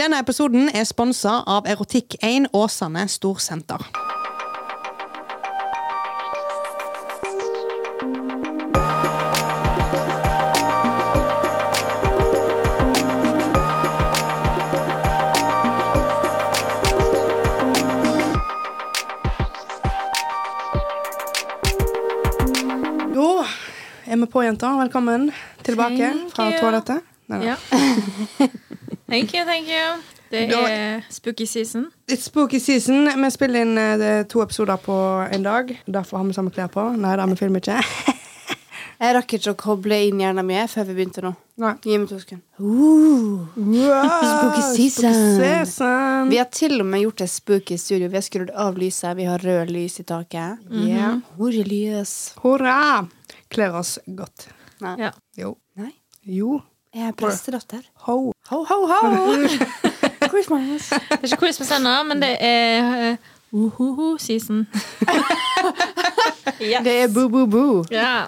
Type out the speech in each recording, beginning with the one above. Denne episoden er sponsa av Erotikk1 Åsane Storsenter. Da er vi på, jenter. Velkommen tilbake Thank fra you. toalettet. Nei, nei. Ja. Thank you, thank you. Det Da- er spooky season. It's spooky season. Vi spiller inn eh, det er to episoder på en dag. Derfor har vi samme klær på. Nei da, vi filmer ikke. Jeg rakk ikke å koble inn hjernen min før vi begynte nå. Nei. Gi meg to sekunder. Spooky season. Spooky season. Vi har til og med gjort det spooky i studio. Vi har skrudd av lyset. Vi har rød lys i taket. Ja. Horelys. Hurra! Kler oss godt. Nei. Ja. Jo. Nei. Jo. Jeg er prestedatter. Ho. Ho, ho, ho! Christmas. Det er ikke Christmas ennå, men det er uhuhu season. yes. Det er boo, boo, boo. Ja.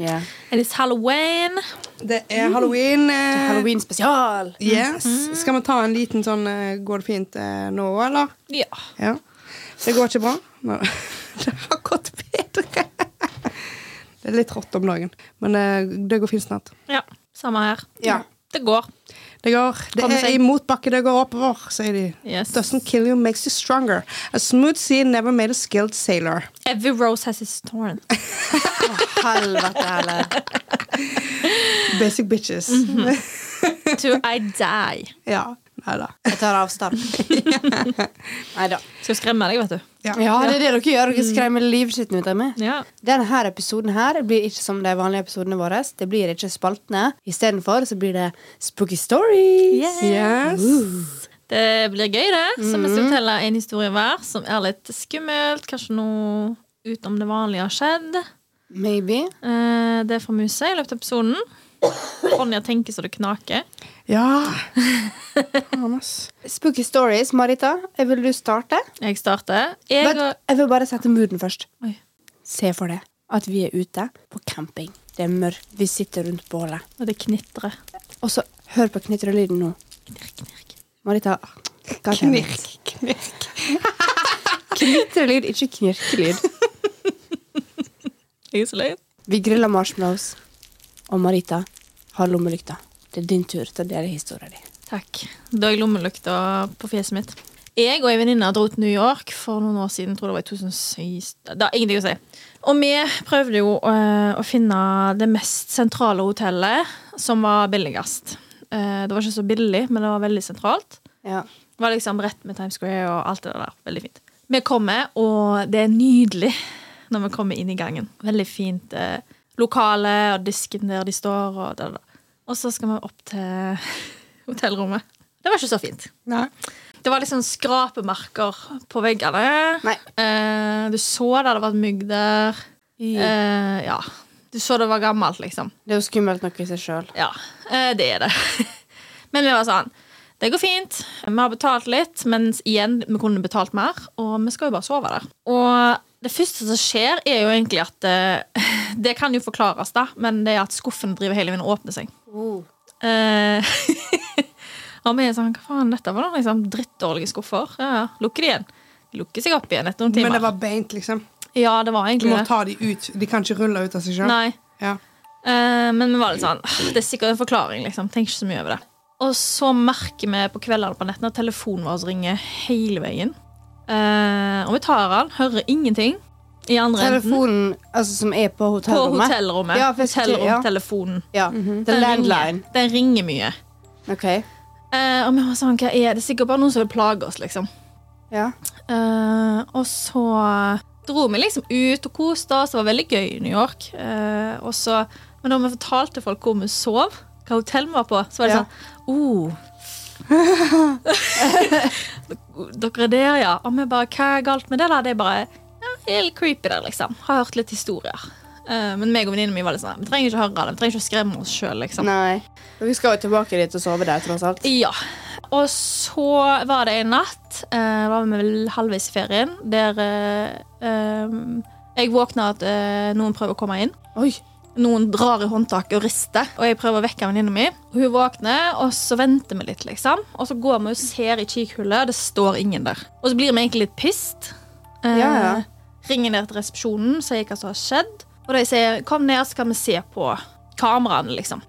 Yeah. It is Halloween. Det er halloween. eh, Halloween Mm-hmm. spesial. Yes. Skal vi ta en liten sånn eh, Går det fint eh, nå, eller? Ja. Ja. Det går ikke bra, men det har gått bedre. Det er litt rått om dagen, men det, det går fint snart. ja. Samme her. Ja. Det går. Det går. Det Kommer er seg. i motbakke, det går oppover, sier de. Yes. Doesn't kill you makes you stronger. A smooth sea never made a skilled sailor. Every rose has its thorn. Helvete heller. Basic bitches. Mhm. To I die. Ja. Nei da. Jeg tar avstand. Nei da. Skal skremme deg, vet du. Ja. Ja, det er det dere gjør. Dere skremmer livskiten ut av meg. Ja. Denne her episoden her blir ikke som de vanlige episodene våre. Det blir ikke spaltene. Istedenfor så blir det spooky stories. Yes. Det blir gøy, det. Så vi Mm. skal fortelle en historie hver som er litt skummelt. Kanskje noe utenom det vanlige har skjedd. Maybe. Eh, Det får vi jo se i løpet av episoden. Ronja tenker så det knaker. Ja. Faen, ass. Spooky stories, Marita. Jeg vil du starte? Jeg starter. Jeg Vent, og jeg vil bare sette mooden først. Oi. Se for deg at vi er ute på camping. Det er mørkt, vi sitter rundt bålet. Og det knitrer. Og så hør på knitrelyden nå. Knirk, knirk. Marita. Knirk, knirk. Knitrelyd, ikke knirkelyd. Jeg er så lei. Vi griller marshmallows, og Marita har lommelykta. Det er din tur til å dele historien din. Takk. Da jeg lommelykta på fjeset mitt. Jeg og ei venninne dro til New York for noen år siden. Tror det var i 2006. Det har ingenting å si. Og vi prøvde jo eh, å finne det mest sentrale hotellet som var billigst. Eh, Det var ikke så billig, men det var veldig sentralt. Ja. Det var liksom rett med Times Square og alt det der. Veldig fint. Vi kommer, og det er nydelig når vi kommer inn i gangen. Veldig fint eh, lokale og disken der de står. Og, da, da, da. og så skal vi opp til hotellrommet. Det var ikke så fint. Nei. Det var liksom skrapemerker på veggene. Nei. Eh, du så det hadde vært mygg der. Det Eh, ja. Du så det var gammelt, liksom. er jo skummelt nok i seg sjøl. Ja, eh, det er det. men vi var sånn Det går fint. Vi har betalt litt, men igjen, vi kunne betalt mer. Og vi skal jo bare sove der. Og det første som skjer, er jo egentlig at eh, Det kan jo forklares, da, men det er at skuffen driver hele veien og åpner seg. Oh. Eh, og vi er sånn Hva faen, dette var da liksom drittdårlige skuffer. Ja, ja. Lukker de igjen. De lukker seg opp igjen etter noen Men det timer. var beint, liksom. Ja, det var Du egentlig må det. ta de ut. De kan ikke rulle ut av seg sjøl. Nei. Ja. Eh, men vi var litt sånn «Åh, Det er sikkert en forklaring, liksom. Tenk ikke så mye over det. Og så merker vi på kveldene på nettene at telefonen vår ringer hele veien. Eh, og vi tar den, hører ingenting i andre enden. Telefonen altså, som er på På hotellrommet? hotellrommet. Ja, for jeg skulle- ja. Hotellromtelefonen. Ja. The landline. ringer. Den ringer mye. Ok. Eh, og vi var sånn, hva er det? Sikkert bare noen som vil plage oss, liksom. Ja. Eh, og så dro vi liksom ut og koste oss. Det var veldig gøy i New York. Eh, og så, men når vi fortalte folk hvor vi sov, hva hotell vi var på, så var det Ja. sånn oh. Dere er der, ja. Og vi bare Hva er galt med det? da? Det er bare ja, helt creepy der, liksom. Har hørt litt historier. Eh, men meg og venninnen min var litt sånn Vi trenger ikke høre det. Vi trenger ikke å skremme oss sjøl, liksom. Nei. Dere skal jo tilbake dit og sove der, tross alt. Ja. Og så var det en natt, eh, var vi vel halvveis i ferien, der eh, eh, jeg våkna at eh, noen prøver å komme inn. Oi. Noen drar i håndtaket og rister, og jeg prøver å vekke venninna mi. Og Hun våkner, og så venter vi litt, liksom. Og så går vi og ser i kikhullet, og det står ingen der. Og så blir vi egentlig litt pissed. Eh, Ja, ja. Ringer ned til resepsjonen, sier hva som har skjedd. Og de sier 'kom ned, så skal vi se på kameraene', liksom.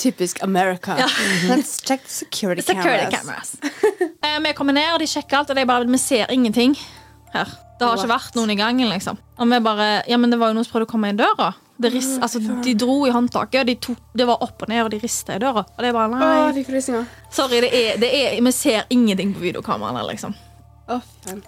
Typisk America. Let's check the security, Security cameras. cameras. Eh, Vi kommer ned, og de sjekker alt, og de bare, vi ser ingenting her. Det har ikke What? vært noen i gangen, liksom. Og vi bare, ja, men det var jo noen som prøvde å komme inn døra. Det ris, altså, de dro i håndtaket, og de tok, det var opp og ned, og de ristet i døra. Og det er bare, Å, jeg nei, fikk frysninger. sorry, det er, det er, vi ser ingenting på videokameraene, liksom. Å, faen.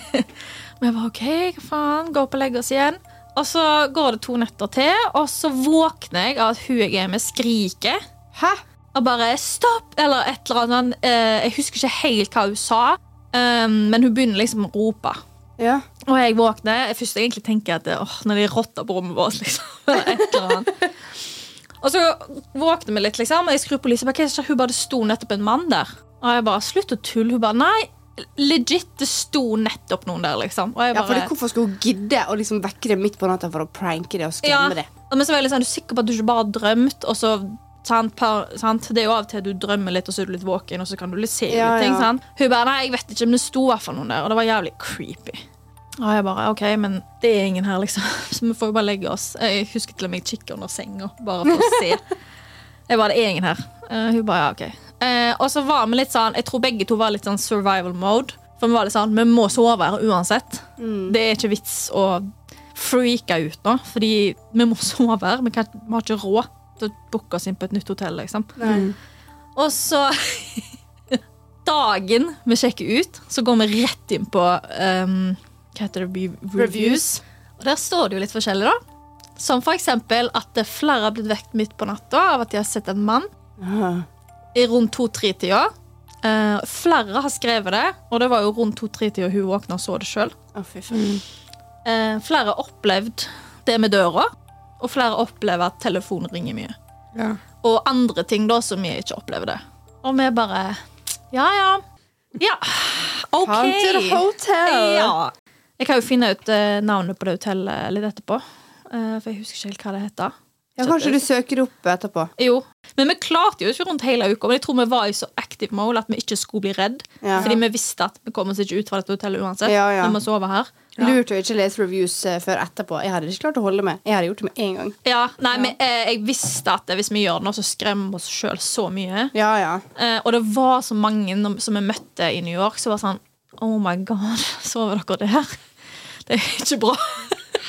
Og jeg bare, ok, hva faen, gå opp og legge oss igjen. Og så går det to netter til, og så våkner jeg av at hun jeg er med skriker. Hæ? Og bare 'stopp!' eller et eller annet. Eh, jeg husker ikke helt hva hun sa, eh, men hun begynner liksom å rope. Ja. Og jeg våkner. Jeg først egentlig tenker at åh, når de rotter på rommet vårt, liksom. Eller et eller annet. Og så våkner vi litt, liksom, og jeg skrur på lyset. Bare, «Hva er det som skjer?» hun bare, det sto nettopp en mann der. Og jeg bare 'slutt å tulle'. Hun bare 'nei, legit, det sto nettopp noen der', liksom. Og jeg ja, bare, fordi Hvorfor skulle hun gidde å liksom vekke deg midt på natta for å pranke deg og skremme deg? Ja, men så var jeg litt sånn, du er sikker på at du ikke bare har drømt, og så sant, par, sant? Det er jo av og til du drømmer litt, og så er du litt våken, og så kan du litt se Ja, litt ting. ja. Sant? Hun bare, nei, jeg vet ikke, men det sto i hvert fall noen der, og det var jævlig creepy. Og jeg bare, ok, men det er ingen her, liksom. Så vi får jo bare legge oss. Jeg husker til og med jeg kikker under senga, bare for å se. Jeg bare, det er ingen her. Eh, hun bare, ja, ok. Eh, og så var vi litt sånn, jeg tror begge to var litt sånn survival mode. For vi var litt sånn, vi må sove her uansett. Det er ikke vits å freake ut nå, fordi vi må sove her. Vi, kan, vi har ikke råd til å booke oss inn på et nytt hotell, liksom. Og så Dagen vi sjekker ut, så går vi rett inn på ehm, Hva heter det? Re- Reviews. Og der står det jo litt forskjellig, da. Som for eksempel at det flere har blitt vekt midt på natta av at de har sett en mann Ah. i rundt to-tre-tida. Eh, flere har skrevet det, og det var jo rundt to-tre-tida hun våkna og så det sjøl. Å, fy faen. Eh, flere har opplevd det med døra, og flere opplever at telefonen ringer mye. Ja. Og andre ting da som vi ikke opplever det. Og vi bare Ja, ja. Ja, OK. Haunted hotel! Ja. Jeg kan jo finne ut eh, navnet på det hotellet litt etterpå. eh, for jeg husker ikke helt hva det heter. Ja, kanskje du søker det opp etterpå. Jo. Men vi klarte jo ikke rundt hele uka, men jeg tror vi var i så active mode at vi ikke skulle bli redd. Ja. Fordi vi visste at vi kom oss ikke ut fra dette hotellet uansett. Ja, ja. Vi må sove her. Lurt å ikke lese reviews eh, før etterpå. Jeg hadde ikke klart å holde meg. Jeg hadde gjort det med en gang. Ja, nei, men eh, jeg visste at hvis vi gjør det nå, så skremmer vi oss sjøl så mye. Ja, ja. Eh, og det var så mange når- som vi møtte i New York, som var sånn Oh my god, sover dere der? Det er ikke bra.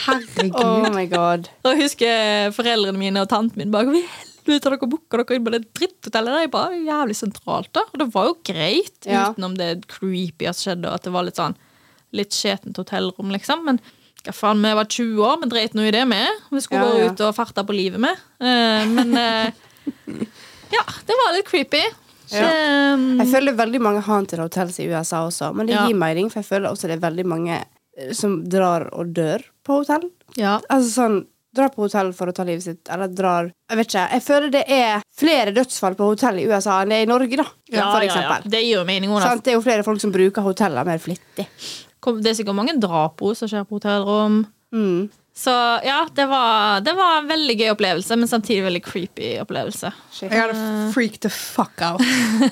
Herregud. Oh my god. Og jeg husker foreldrene mine og tanten min bare Hvor i helvete har dere booka dere inn på det dritthotellet? Det er bare jævlig sentralt, da. Og det var jo greit, Ja. utenom det creepy som skjedde, og at det var litt sånn litt skjetent hotellrom, liksom. Men hva faen, vi var 20 år, vi dreit nå i det, vi. Vi skulle Ja, bare ja. ut og farte på livet med. Eh, men eh, ja, det var litt creepy. Ja. Eh, Jeg føler veldig mange haunted hotels i USA også, men det Ja. gir mening, for jeg føler også det er veldig mange eh, som drar og dør på hotell. ja. Altså sånn Drar på hotell for å ta livet sitt, eller drar Jeg vet ikke. Jeg føler det er flere dødsfall på hotell i USA enn det er i Norge, da. for eksempel. Det gir jo mening. Jonas. Sant? Det er jo flere folk som bruker hoteller mer flittig. Kom- Det er sikkert mange drap også som skjer på hotellrom. Mm. Så ja, det var, det var en veldig gøy opplevelse, men samtidig veldig creepy opplevelse. Shit. Jeg hadde freaked the fuck out.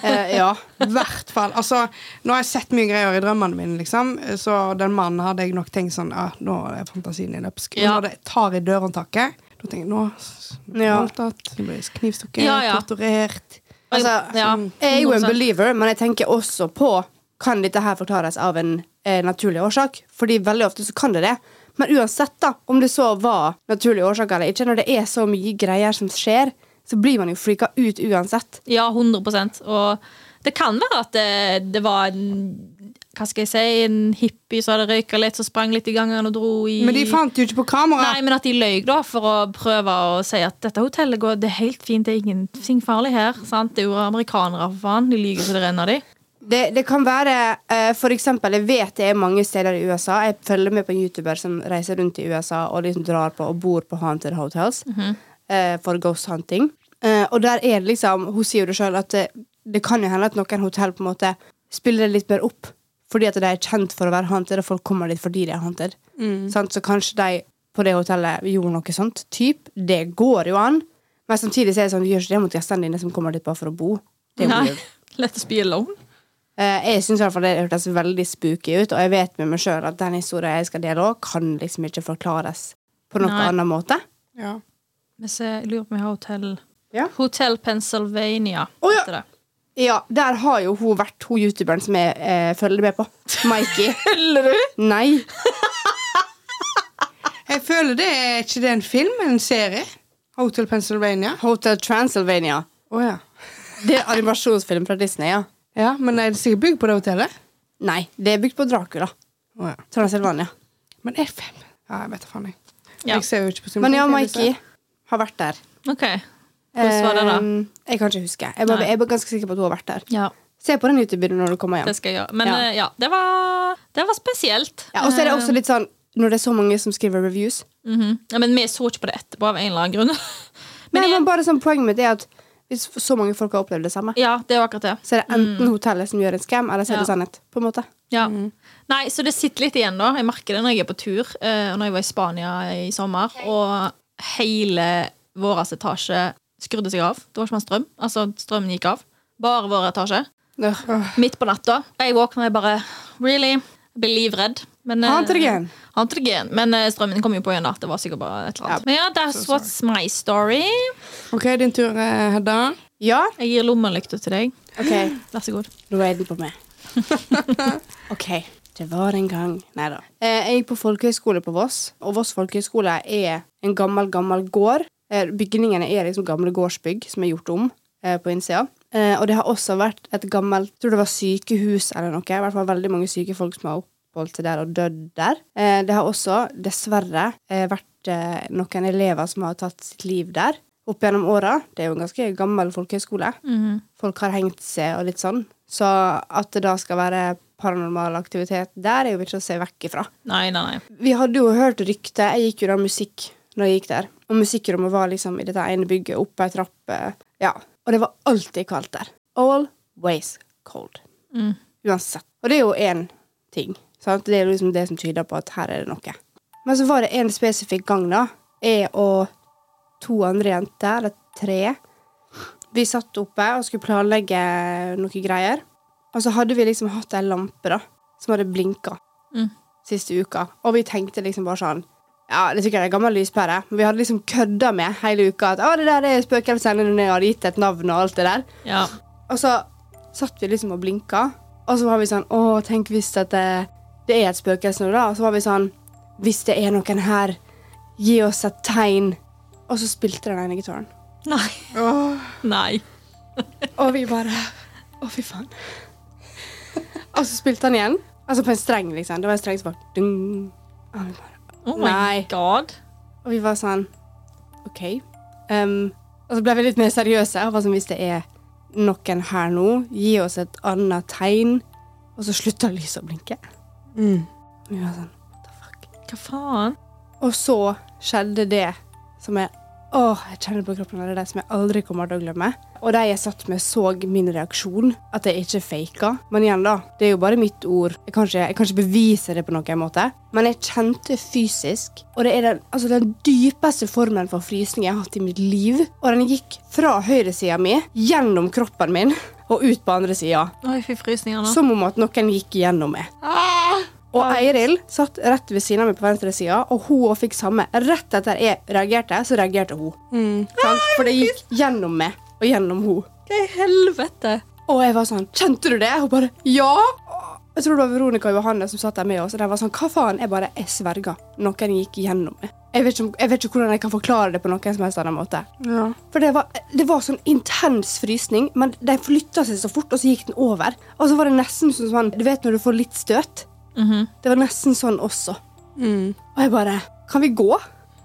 Eh, ja. I hvert fall. Altså, nå har jeg sett mye greier i drømmene mine, liksom. Så den mannen hadde jeg nok tenkt sånn ah, Nå er fantasien din løpsk. Men Ja. Når det tar i dørhåndtaket, da tenker jeg nå s- Ja. voldtatt, nå blir jeg knivstukket, Ja, ja. torturert. Ja, Altså, Jeg er jo en 100%. believer, men jeg tenker også på Kan dette her forklares av en eh, naturlig årsak? Fordi veldig ofte så kan det det. Men uansett da, om det så var naturlig årsak eller ikke, når det er så mye greier som skjer, så blir man jo freaka ut uansett. Ja, 100 Og det kan være at det, det var en hva skal jeg si, en hippie som hadde røyka litt, som sprang litt i gangen og dro i Men de fant jo ikke på kamera! Nei, men at de løy da, for å prøve å si at dette hotellet går, det er helt fint, det er ingenting farlig her. sant? Det er jo amerikanere, for faen. De lyver så det renner, de. Det, det kan være eh, for eksempel, Jeg vet det er mange steder i USA. Jeg følger med på en YouTuber som reiser rundt i USA og liksom drar på og bor på haunted hotels eh, for ghost hunting. Eh, og der er det liksom Hun sier jo det sjøl at det, det kan jo hende at noen hotell på en måte spiller det litt mer opp. Fordi at de er kjent for å være haunted, og folk kommer dit fordi de er haunted. Sant? Så kanskje de på på det hotellet gjorde noe sånt. Typ. Det går jo an. Men samtidig så er det sånn, du gjør ikke det mot gjestene dine som kommer dit bare for å bo. Det er jo Nei. weird. Let us be alone. Eh, jeg syns det hørtes veldig spooky ut, og jeg vet med meg sjøl at den historien jeg skal dele òg, kan liksom ikke forklares på noen Nei. annen måte. Ja. Vi ser, jeg lurer på om jeg har hotell Ja. Hotel Pennsylvania. Å, ja. heter det. Ja, der har jo hun vært, hun youtuberen som jeg eh, følger med på. Mikey. Følger du? Nei. Jeg føler det er ikke det en film, men en serie. Hotel Pennsylvania. Hotel Transylvania. Å ja. Det er animasjonsfilm fra Disney, ja. ja. Men er det sikkert bygd på det hotellet? Nei, det er bygd på Dracula. Å ja. Transylvania. Men er det fem? Ja, jeg vet da faen, jeg. Ja. Jeg ser jo ikke på Men Simpsons, ja, jeg Mikey vil si. har vært der. OK. Hvordan var det, da? Eh, jeg kan ikke huske. Jeg, bare, Nei. jeg er bare ganske sikker på at hun har vært der. Ehm, Ja, Se på den YouTube-videoen når du kommer hjem. det skal jeg gjøre. Men Ja. ja, ja det, var, det var spesielt. Ja, og så er det også litt sånn, når det er så mange som skriver reviews Mhm. ja, men vi så ikke på det etterpå av en eller annen grunn. Men, men bare sånn, poenget mitt er at hvis så mange folk har opplevd det samme, Ja, det var akkurat det. så er det enten hotellet som gjør en scam, eller så er det Ja. sannhet. på en måte. Ja. Mhm. Nei, så det sitter litt igjen, da. Jeg merker det når jeg er på tur. eh, Og når jeg var i Spania i sommer, og hele vår etasje skrudde seg av. Det var ikke mer strøm. Altså, strømmen gikk av. Bare vår etasje. Åh, Midt på natta. Og jeg våkner og jeg bare Really? Jeg blir livredd. Men, eh, Antigen. antigen. Men eh, strømmen kom jo på igjen, da. Det var sikkert bare et eller annet. Ja. Men ja, that's what's my story. OK, din tur, eh, Hedda. Ja? Jeg gir lommelykta til deg. OK, Vær så god. nå er den på meg. OK. Det var en gang Nei da. Eh, Jeg gikk på folkehøyskole på Voss, og Voss folkehøyskole er en gammel, gammel gård. Eh, Bygningene er liksom gamle gårdsbygg som er gjort om eh, på innsida. Eh, Og det har også vært et gammelt jeg tror det var sykehus eller noe. I hvert fall veldig mange syke folk som har oppholdt seg der og dødd der. Eh, Det har også, dessverre, eh, vært eh, noen elever som har tatt sitt liv der. Opp gjennom åra. Det er jo en ganske gammel folkehøyskole. Folk har hengt seg og litt sånn. Så at det da skal være paranormal aktivitet der, er jo ikke å se vekk ifra. Nei, nei, nei. Vi hadde jo hørt rykter. Jeg gikk jo da musikk når jeg gikk der. Og musikkrommet var liksom i dette ene bygget, oppe ei trappe. Ja. Og det var alltid kaldt der. Always cold. Mm. Uansett. Og det er jo én ting. Sant? Det er jo liksom det som tyder på at her er det noe. Men så var det en spesifikk gang, da. Jeg og to andre jenter, eller tre, vi satt oppe og skulle planlegge noe greier. Og så hadde vi liksom hatt ei lampe, da, som hadde blinka Mm. siste uka. Og vi tenkte liksom bare sånn Ja, det er sikkert en gammel lyspære, men vi hadde liksom kødda med hele uka at å, det der er spøkelsene, og jeg hadde gitt et navn og alt det der. Ja. Og så satt vi liksom og blinka, og så var vi sånn Å, tenk hvis at det, det er et spøkelse nå, da. Og så var vi sånn Hvis det er noen her, gi oss et tegn. Og så spilte den ene gitaren. Nei. Åh, Nei. Og vi bare Å, fy faen. og så spilte han igjen. Altså på en streng, liksom. Det var en streng som bare dung. Og vi, bare, Oh my Nei. god. og vi var sånn OK. Ehm, og så ble vi litt mer seriøse. Og var sånn, hvis det er noen her nå, gi oss et annet tegn. Og så slutta lyset å blinke. Mm. Og vi var sånn What the fuck? Hva faen? Og så skjedde det som jeg Å, jeg kjenner på kroppen det er det som jeg aldri kommer til å glemme. Og de jeg satt med, så min reaksjon. At jeg ikke faka. Men igjen, da. Det er jo bare mitt ord. Jeg kan ikke, jeg kan ikke bevise det på noen måte. Men jeg kjente fysisk Og det er den, altså den dypeste formen for frysning jeg har hatt i mitt liv. Og den gikk fra høyresida mi, gjennom kroppen min, og ut på andre sida. Nå jeg fikk frysninger nå. Som om at noen gikk gjennom meg. Og Eiril satt rett ved siden av meg på venstre sida, og hun også fikk samme. Rett etter jeg reagerte, så reagerte hun. Sant? For det gikk gjennom meg og gjennom hun. Hva i helvete? Og jeg var sånn Kjente du det? Hun bare Ja! Jeg tror det var Veronica og Johanne som satt der med oss, og de var sånn Hva faen? Jeg bare Jeg sverger. Noen gikk gjennom meg. Jeg vet, ikke, om- jeg vet ikke hvordan jeg kan forklare det på noen som helst annen måte. Ja. For det var, det var sånn intens frysning, men de flytta seg så fort, og så gikk den over. Og så var det nesten sånn som Du vet når du får litt støt? Mhm. Det var nesten sånn også. Mm. Og jeg bare Kan vi gå?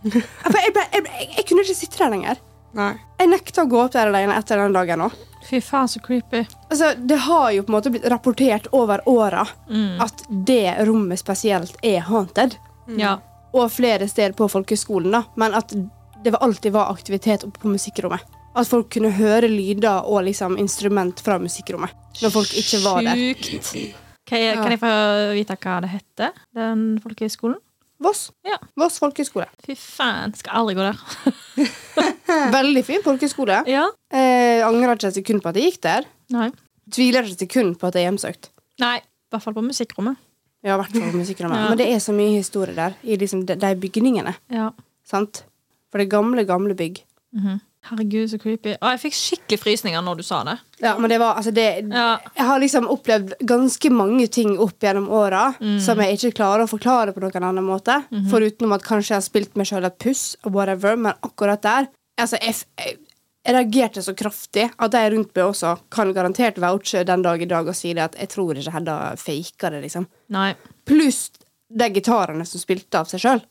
Jeg, bare, jeg, ble, jeg, ble- jeg kunne ikke sitte der lenger. Nei. Jeg nekta å gå opp der alene etter den dagen òg. Fy faen, så creepy. Altså, det har jo på en måte blitt rapportert over åra at det rommet spesielt er haunted. Mm. Ja. Og flere steder på folkehøgskolen, da. Men at det var alltid var aktivitet oppe på musikkrommet. At folk kunne høre lyder og liksom instrument fra musikkrommet når folk ikke var der. Sjukt. Kan jeg, kan jeg få vite hva det heter, den folkehøyskolen? Voss. Ja. Voss folkehøgskole. Fy faen, skal aldri gå der. Veldig fin folkehøgskole. Ja? Eh, angrer ikke et sekund på at jeg gikk der. Nei. Tviler ikke et sekund på at jeg er hjemsøkt. Nei, i hvert fall på musikkrommet. Jeg har vært på musikkrommet. Ja. Men det er så mye historie der, i liksom de, de bygningene. Ja. Sant? For det er gamle, gamle bygg. Mhm. Herregud, så creepy. Å, jeg fikk skikkelig frysninger når du sa det. Ja, men det var, altså det, Ja. Jeg har liksom opplevd ganske mange ting opp gjennom åra som jeg ikke klarer å forklare på noen annen måte. Foruten om at kanskje jeg har spilt meg sjøl et puss, whatever, men akkurat der altså jeg, f- jeg, jeg reagerte så kraftig at de rundt meg også kan garantert vouche den dag i dag og si det at jeg tror ikke Hedda faker det, liksom. Nei. Pluss de gitarene som spilte av seg sjøl.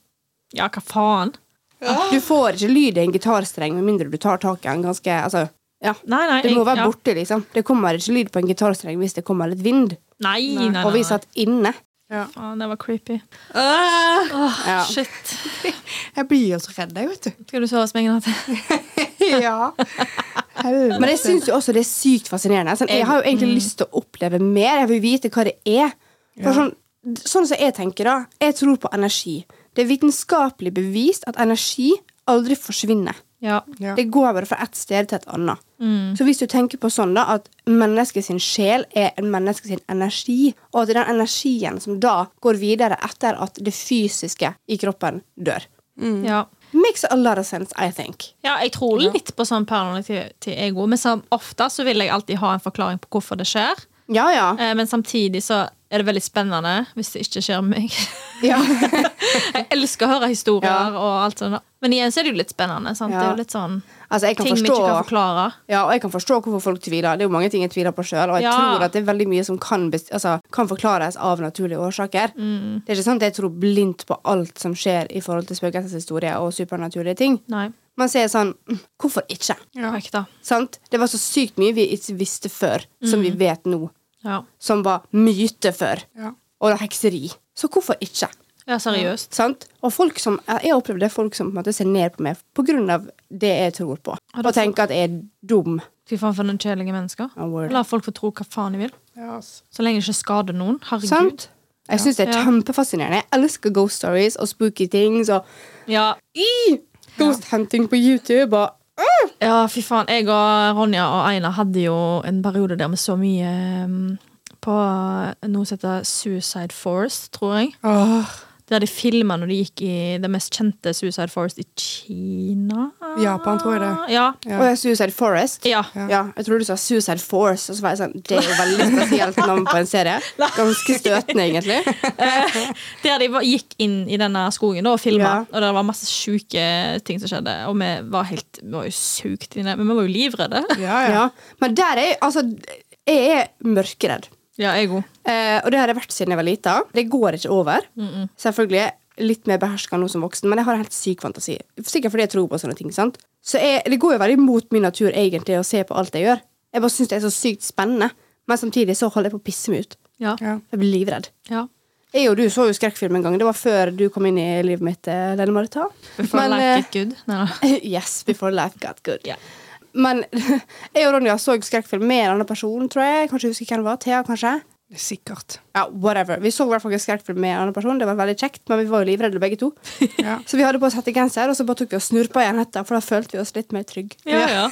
Ja, hva faen? Du får ikke lyd i en gitarstreng med mindre du tar tak i den ganske altså, ja. Nei, nei. Det må jeg- være ja. borte, liksom. Det kommer ikke lyd på en gitarstreng hvis det kommer litt vind. Nei, nei, nei. Og vi nei. satt inne. Faen, det var creepy. Åh, Ja. Shit. Jeg blir jo så redd, jeg, vet du. Skal du sove hos meg i natt? ja. Men jeg syns jo også det er sykt fascinerende. Sånn, jeg har jo Mm. egentlig lyst til å oppleve mer. Jeg vil vite hva det er. For sånn, sånn som jeg tenker, da. Jeg tror på energi. Det er vitenskapelig bevist at energi aldri forsvinner. Ja. Mm. Ja. Det går bare fra ett sted til et annet. Så hvis du tenker på sånn da at mennesket sin sjel er en menneske sin energi, og at det er den energien som da går videre etter at det fysiske i kroppen dør Mm. ja. Makes a lot of sense, I think. Ja, jeg tror litt på sånn paranoid til, til ego, men som ofte så vil jeg alltid ha en forklaring på hvorfor det skjer. Ja, ja. Eh, men samtidig så er det veldig spennende hvis det ikke skjer meg. ja. jeg elsker å høre historier Ja. og alt sånt. da. Men igjen så er det jo litt spennende. sant? Ja. Det er jo litt sånn Altså, jeg kan ting vi ikke kan forstå forklare. Ja, og jeg kan forstå hvorfor folk tviler. Det er jo mange ting jeg tviler på sjøl, og jeg Ja. tror at det er veldig mye som kan, best- altså, kan forklares av naturlige årsaker. Det er ikke sant at jeg tror blindt på alt som skjer i forhold til spøkelseshistorie og supernaturlige ting. Nei. Man sier sånn «Mm, Hvorfor ikke? Korrekt, da. Sant? Det var så sykt mye vi ikke visste før, som vi vet nå. Ja. Som var myte før. Ja. Og hekseri. Så hvorfor ikke? ja, seriøst. Sant? Og folk som, jeg har opplevd det er folk som på en måte ser ned på meg på grunn av det jeg tror på. Har du Og tenker at jeg er dum. Fy faen for noen kjedelige mennesker. Ja, word. La folk få tro hva faen de vil. Ja, altså. Så lenge det ikke skader noen. Herregud. Sant? Jeg syns det er Ja. kjempefascinerende. Jeg elsker ghost stories og spooky things og Ja. I! Ghost hunting på YouTube og ja, fy faen. Jeg og Ronja og Einar hadde jo en periode der med så mye um, på noe som heter Suicide Forest, tror jeg. Åh, Der de filma når de gikk i det mest kjente Suicide Forest i Kina. Japan, tror jeg det. Ja. Ja. Og jeg er Suicide Forest. ja. Ja. jeg tror du sa Suicide Force. Og så var jeg sånn, Det er jo veldig spesielt navn på en serie. Ganske støtende, egentlig. Der de var- gikk inn i denne skogen da, og filma, Ja. og det var masse sjuke ting som skjedde. Og vi var helt, vi var jo sugt inne, men vi var jo livredde. ja, ja. Ja. Men der er altså Jeg er mørkeredd. Ja, jeg òg. Eh, og det har jeg vært siden jeg var lita. Det går ikke over. Selvfølgelig litt mer beherska nå som voksen, men jeg har en helt syk fantasi. Sikkert fordi jeg tror på sånne ting. sant? Så jeg, det går jo veldig mot min natur egentlig å se på alt jeg gjør. Jeg bare syns det er så sykt spennende. Men samtidig så holder jeg på å pisse meg ut. Ja. Ja. Jeg blir livredd. Ja. Jeg og du så jo skrekkfilm en gang. Det var før du kom inn i livet mitt, eh, Lene Marita. Before Men, life get good. Nei, da. eh, Yes, before life got good. Ja. Men jeg og Ronja så skrekkfilm med en annen person, tror jeg. Kanskje jeg husker hvem det var. Thea, kanskje? Det er sikkert. Ja, whatever. Vi så i hvert fall ikke skrekkfilm med en annen person. Det var veldig kjekt, men vi var jo livredde begge to. Ja. Så vi hadde på oss hettegenser, og så bare tok vi og snurpa igjen hetta, for da følte vi oss litt mer trygge. Ja, ja.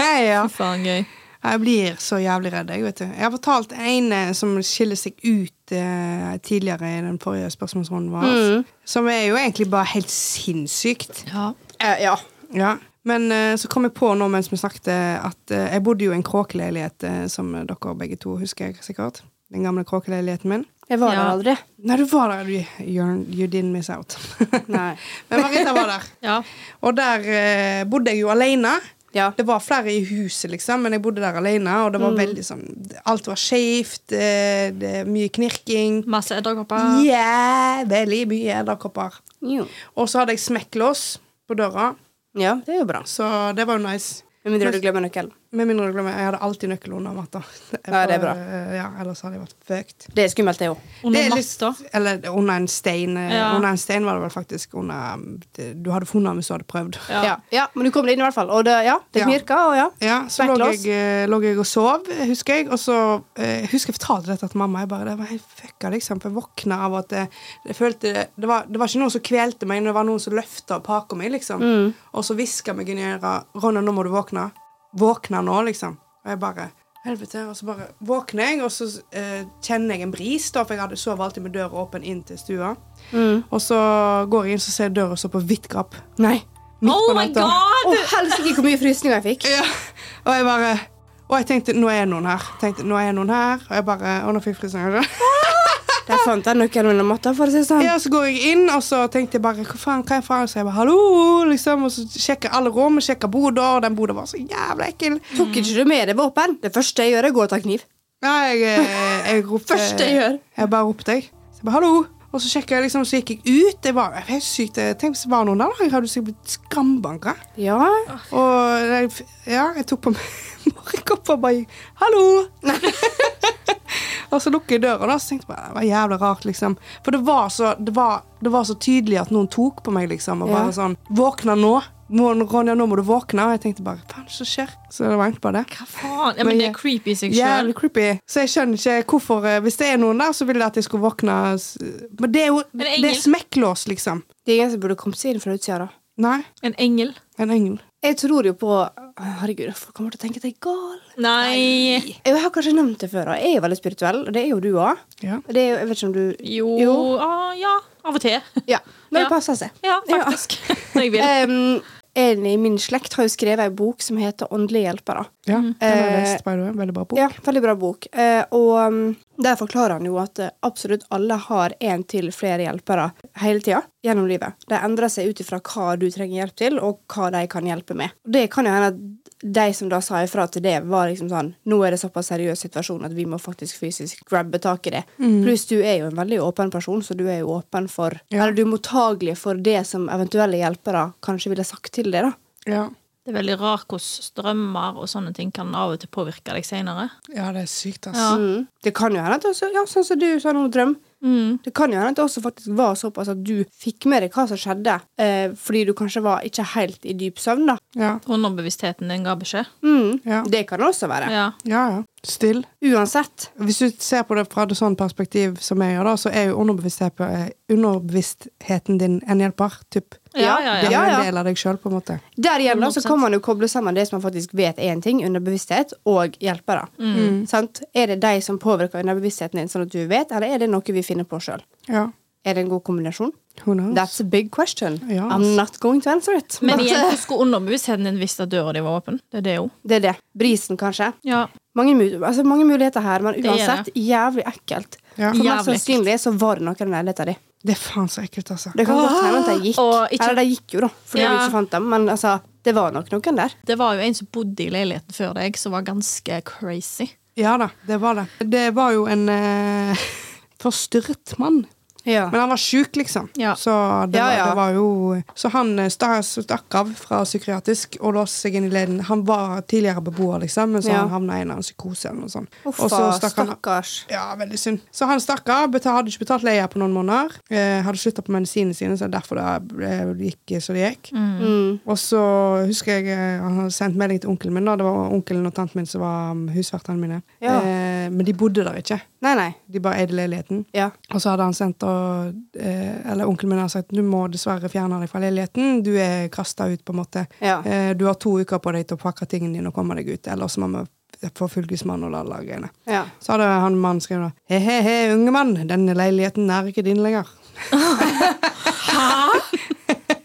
Hei, ja. Fy faen gøy. Jeg blir så jævlig redd. Jeg vet du. Jeg har fortalt en eh, som skiller seg ut eh, tidligere i den forrige spørsmålsrunden vår, Mm. som er jo egentlig bare helt sinnssykt. Ja. Eh, ja. Ja. Men eh, så kom jeg på nå mens vi snakket, eh, at eh, jeg bodde jo i en kråkeleilighet, eh, som dere begge to husker jeg sikkert. Den gamle kråkeleiligheten min. Jeg var Ja. der aldri. Nei, du var der. You, you're- you didn't miss out. Nei. Men Marita var der. Ja. Og der eh, bodde jeg jo alene. Ja. Det var flere i huset, liksom, men jeg bodde der alene. Og det var Mm. veldig sånn Alt var skeivt. Eh, det- mye knirking. Masse edderkopper. Jævlig mye edderkopper. Jo. Og så hadde jeg smekklås på døra, Ja, det er jo bra. så det var jo nice. Med mindre du glemmer nøkkelen. Med mindre du glemmer, jeg hadde alltid nøkkel under matta. Ja, det er bra. Eh, Ja, ellers hadde jeg vært fucked. Det er skummelt, det òg. Det Under er litt- matta. Eller under en stein. eh, Ja. Under en stein var det vel faktisk under um, det- Du hadde funnet den hvis du hadde prøvd. Ja. Ja. ja, men du kom deg inn i hvert fall. Og det, ja, det Ja. knirka, og ja. Ja, så lå Backlås. jeg, eh, lå jeg og sov, eh, husker jeg. Og så eh, husker jeg fortalte dette til mamma. Jeg bare, det var helt fucka, liksom. For jeg våkna av at jeg, jeg følte det, det, var, det var ikke noen som kvelte meg, men det var noen som løfta opp haka mi, liksom. Mm. Og så hviska meg inn i øret 'Ronna, nå må du våkne'. Våkne nå, liksom. Og jeg bare Helvete. Og så bare våkner jeg, og så eh, kjenner jeg en bris, da, for jeg hadde sov alltid med døra åpen inn til stua. Mm. Og så går jeg inn, så ser jeg døra stå på vidt gap. Nei. midt Oh på my natta. Å, god! helsike, hvor mye frysninger jeg fikk. Ja. Og jeg bare Og jeg tenkte nå er noen her. Tenkte, nå er noen her Og jeg bare Og nå fikk jeg frysninger. Der fant jeg nøkkelen under matta, for å si det sånn. Ja, så går jeg inn, og så tenkte jeg bare Hva faen, hva er faen? Så jeg bare Hallo! Liksom. Og så sjekker jeg alle rom, sjekker boda, og den boda var så jævla ekkel. Tok ikke du med deg våpen? Det første jeg gjør, er å gå og ta kniv. Ja, jeg, eh, jeg ropte Første jeg gjør. Jeg bare ropte, jeg. Så jeg bare Hallo! Og så sjekket jeg liksom, så gikk jeg ut. Det var jeg var helt sykt. Jeg tenkte hvis det var noen der, da. jeg hadde sikkert blitt skambanka. Ja. Og jeg, ja, jeg tok på meg morgenkoppa og bare gikk, 'hallo'. og så lukker jeg døra, da, så tenkte jeg bare, det var jævlig rart, liksom. For det var så, det var, det var så tydelig at noen tok på meg, liksom. Og Ja. bare sånn 'Våkna nå'. Må, 'Ronja, nå må du våkne'. Og jeg tenkte bare 'faen, hva skjer?' Så det var egentlig bare det. Hva faen? Ja, men det er creepy i seg sjøl. Jævlig creepy. Så jeg skjønner ikke hvorfor eh, Hvis det er noen der, så vil jeg at jeg skulle våkne s- Men det er jo det det er er engel. smekklås, liksom. Det er ingen som burde kommet seg inn fra utsida, da. Nei, En engel. en engel. Jeg tror jo på Herregud, folk kommer til å tenke at jeg er gal. Nei. Jeg har kanskje nevnt det før, og jeg er veldig spirituell, og det er jo du òg. Ja. Det er jo, jeg vet ikke om du Jo, Ah, ja. Av og til. Ja. Når Ja. det passer seg. Ja, faktisk. Når jeg vil. Em, en i min slekt har jo skrevet ei bok som heter 'Åndelige hjelpere'. Ja, den har jeg Eh, lest, by the way. Veldig bra bok. Ja, veldig bra bok. Eh, og um, der forklarer han jo at eh, absolutt alle har én til flere hjelpere hele tida gjennom livet. De endrer seg ut ifra hva du trenger hjelp til, og hva de kan hjelpe med. Og det kan jo hende at de som da sa ifra til det, var liksom sånn Nå er det såpass seriøs situasjon at vi må faktisk fysisk grabbe tak i det. Mm. Pluss du er jo en veldig åpen person, så du er jo åpen for Eller du er mottagelig for det som eventuelle hjelpere kanskje ville sagt til deg, da. Ja. Det er veldig rart hvordan strømmer og sånne ting kan av og til påvirke deg seinere. ja, det er sykt, ass. Ja. Mm. Det kan jo hende at det også, ja, sånn som du sa nå, Drøm. Mm. Det kan jo hende at det også faktisk var såpass at du fikk med deg hva som skjedde, eh, fordi du kanskje var ikke helt i dyp søvn, da. Ja, Underbevisstheten din ga beskjed. Mm. ja. Det kan det også være. Ja. ja, ja. Still. Uansett. Hvis du ser på det fra et sånt perspektiv som jeg gjør, da, så er jo underbevissthet- eh, underbevisstheten din en hjelper. Typ. Ja, ja, Det ja. er Ja, ja. en del av deg sjøl, på en måte. Der igjen da, så 100%. kan man jo koble sammen det som man faktisk vet er en ting, underbevissthet, og hjelpere. Mm. Sant? Er det de som påvirker underbevisstheten din, sånn at du vet, eller er det noe vi finner på sjøl? Ja. Er det en god kombinasjon? Who knows? That's a big question. Ja, I'm not going to answer it. Men But, igjen, eh, hvordan skulle underbevisstheten din visst at døra di var åpen? Det er det jo. det er det. Brisen, kanskje. Ja. Mange, mu- altså mange muligheter her, men er uansett jævlig ekkelt. Ja. For Jævlig mest sannsynlig så var det noen leiligheter di. Det er faen så ekkelt, altså. Det kan godt hende at de gikk. Og ikke- Eller de gikk jo, da, fordi Ja. du ikke fant dem. Men altså, det var nok noen der. Det var jo en som bodde i leiligheten før deg, som var ganske crazy. Ja da, det var det. Det var jo en eh, forstyrret mann. Ja. Men han var sjuk, liksom. Ja. Så, det Ja, var, ja. Det var jo, så han eh, sta- stakk av fra psykiatrisk og låste seg inn i leden. Han var tidligere beboer, liksom, men så Ja. han havna i en eller annen psykose eller noe sånt. Uff, og så stakk han stakkars. ja, veldig synd. Så han stakk av. beta- Hadde ikke betalt leia på noen måneder. Eh, hadde slutta på medisinene sine, så derfor det eh, gikk så det gikk. Mm. Og så husker jeg eh, han hadde sendt melding til onkelen min. Da. Det var onkelen og tanten min som var um, husvertene mine. Ja. Eh, men de bodde der ikke. Nei, nei. De bare eide leiligheten. Ja. Og så hadde han sendt og, eh, Eller onkelen min har sagt du må dessverre fjerne deg fra leiligheten. Du er kasta ut, på en måte. Ja. Eh, du har to uker på deg til å pakke tingene dine og komme deg ut. Ellers må vi få fylkesmann og la la greiene. ja. Så hadde han mannen skrevet da He he he, unge mann, denne leiligheten er ikke din lenger.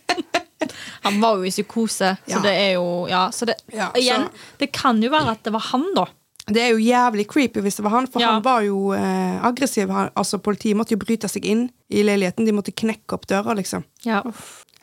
Han var jo i psykose, så Ja. det er jo Ja, så det Ja, så- Igjen, det kan jo være at det var han, da. Det er jo jævlig creepy hvis det var han, for Ja. han var jo eh, aggressiv. Han, altså Politiet måtte jo bryte seg inn i leiligheten. De måtte knekke opp døra, liksom. Ja.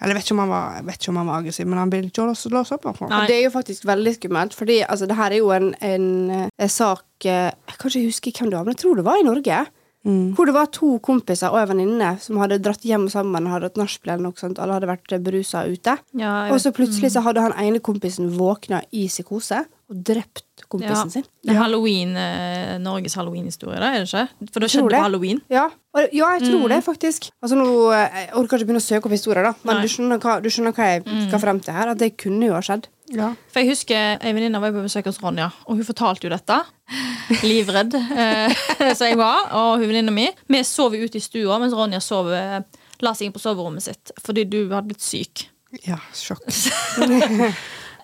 Eller jeg vet ikke om han var, jeg vet ikke om han var aggressiv, men han ville ikke låse, låse opp. hvertfall. Nei. Og det er jo faktisk veldig skummelt, fordi altså, det her er jo en, en, eh, sak eh, Jeg kan ikke huske hvem det var, men jeg tror det var i Norge. Mm. Hvor det var to kompiser og en venninne som hadde dratt hjem sammen. Hadde hatt nachspiel eller noe sånt. Alle hadde vært berusa ute. Ja, jeg mm. og så plutselig så hadde han ene kompisen våkna i psykose. og drept kompisen sin. Det er Halloween, eh, Norges halloween-historie, da, er det ikke? For det Tror skjedde på det. halloween. Ja, og, ja jeg Mm. tror det, faktisk. Altså nå, eh, Jeg orker ikke begynne å søke opp historier, da, men Nei. Mm. du skjønner, hva, du skjønner hva jeg skal frem til her. At det kunne jo ha skjedd. Ja. For jeg husker En venninne var på besøk hos Ronja, og hun fortalte jo dette. Livredd eh, som jeg var, og hun venninna mi. Vi sov jo ute i stua mens Ronja sov, eh, la seg inn på soverommet sitt fordi du hadde blitt syk. ja, sjokk.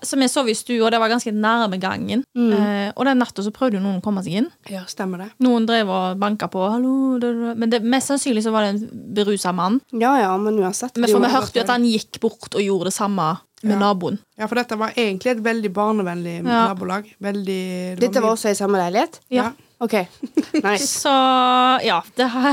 Så vi sov i stua, og det var ganske nærme gangen. Eh, og den natta så prøvde jo noen å komme seg inn. Ja, stemmer det. Noen drev og banka på. Hallo, da, da. Men det, mest sannsynlig så var det en berusa mann. Ja ja, men uansett. Men for Jo, vi hørte jo at han gikk bort og gjorde det samme med Ja. naboen. Ja, for dette var egentlig et veldig barnevennlig Ja. nabolag. Veldig det Dette mye- var også i samme leilighet? Ja. OK. Nice. Så ja, det har,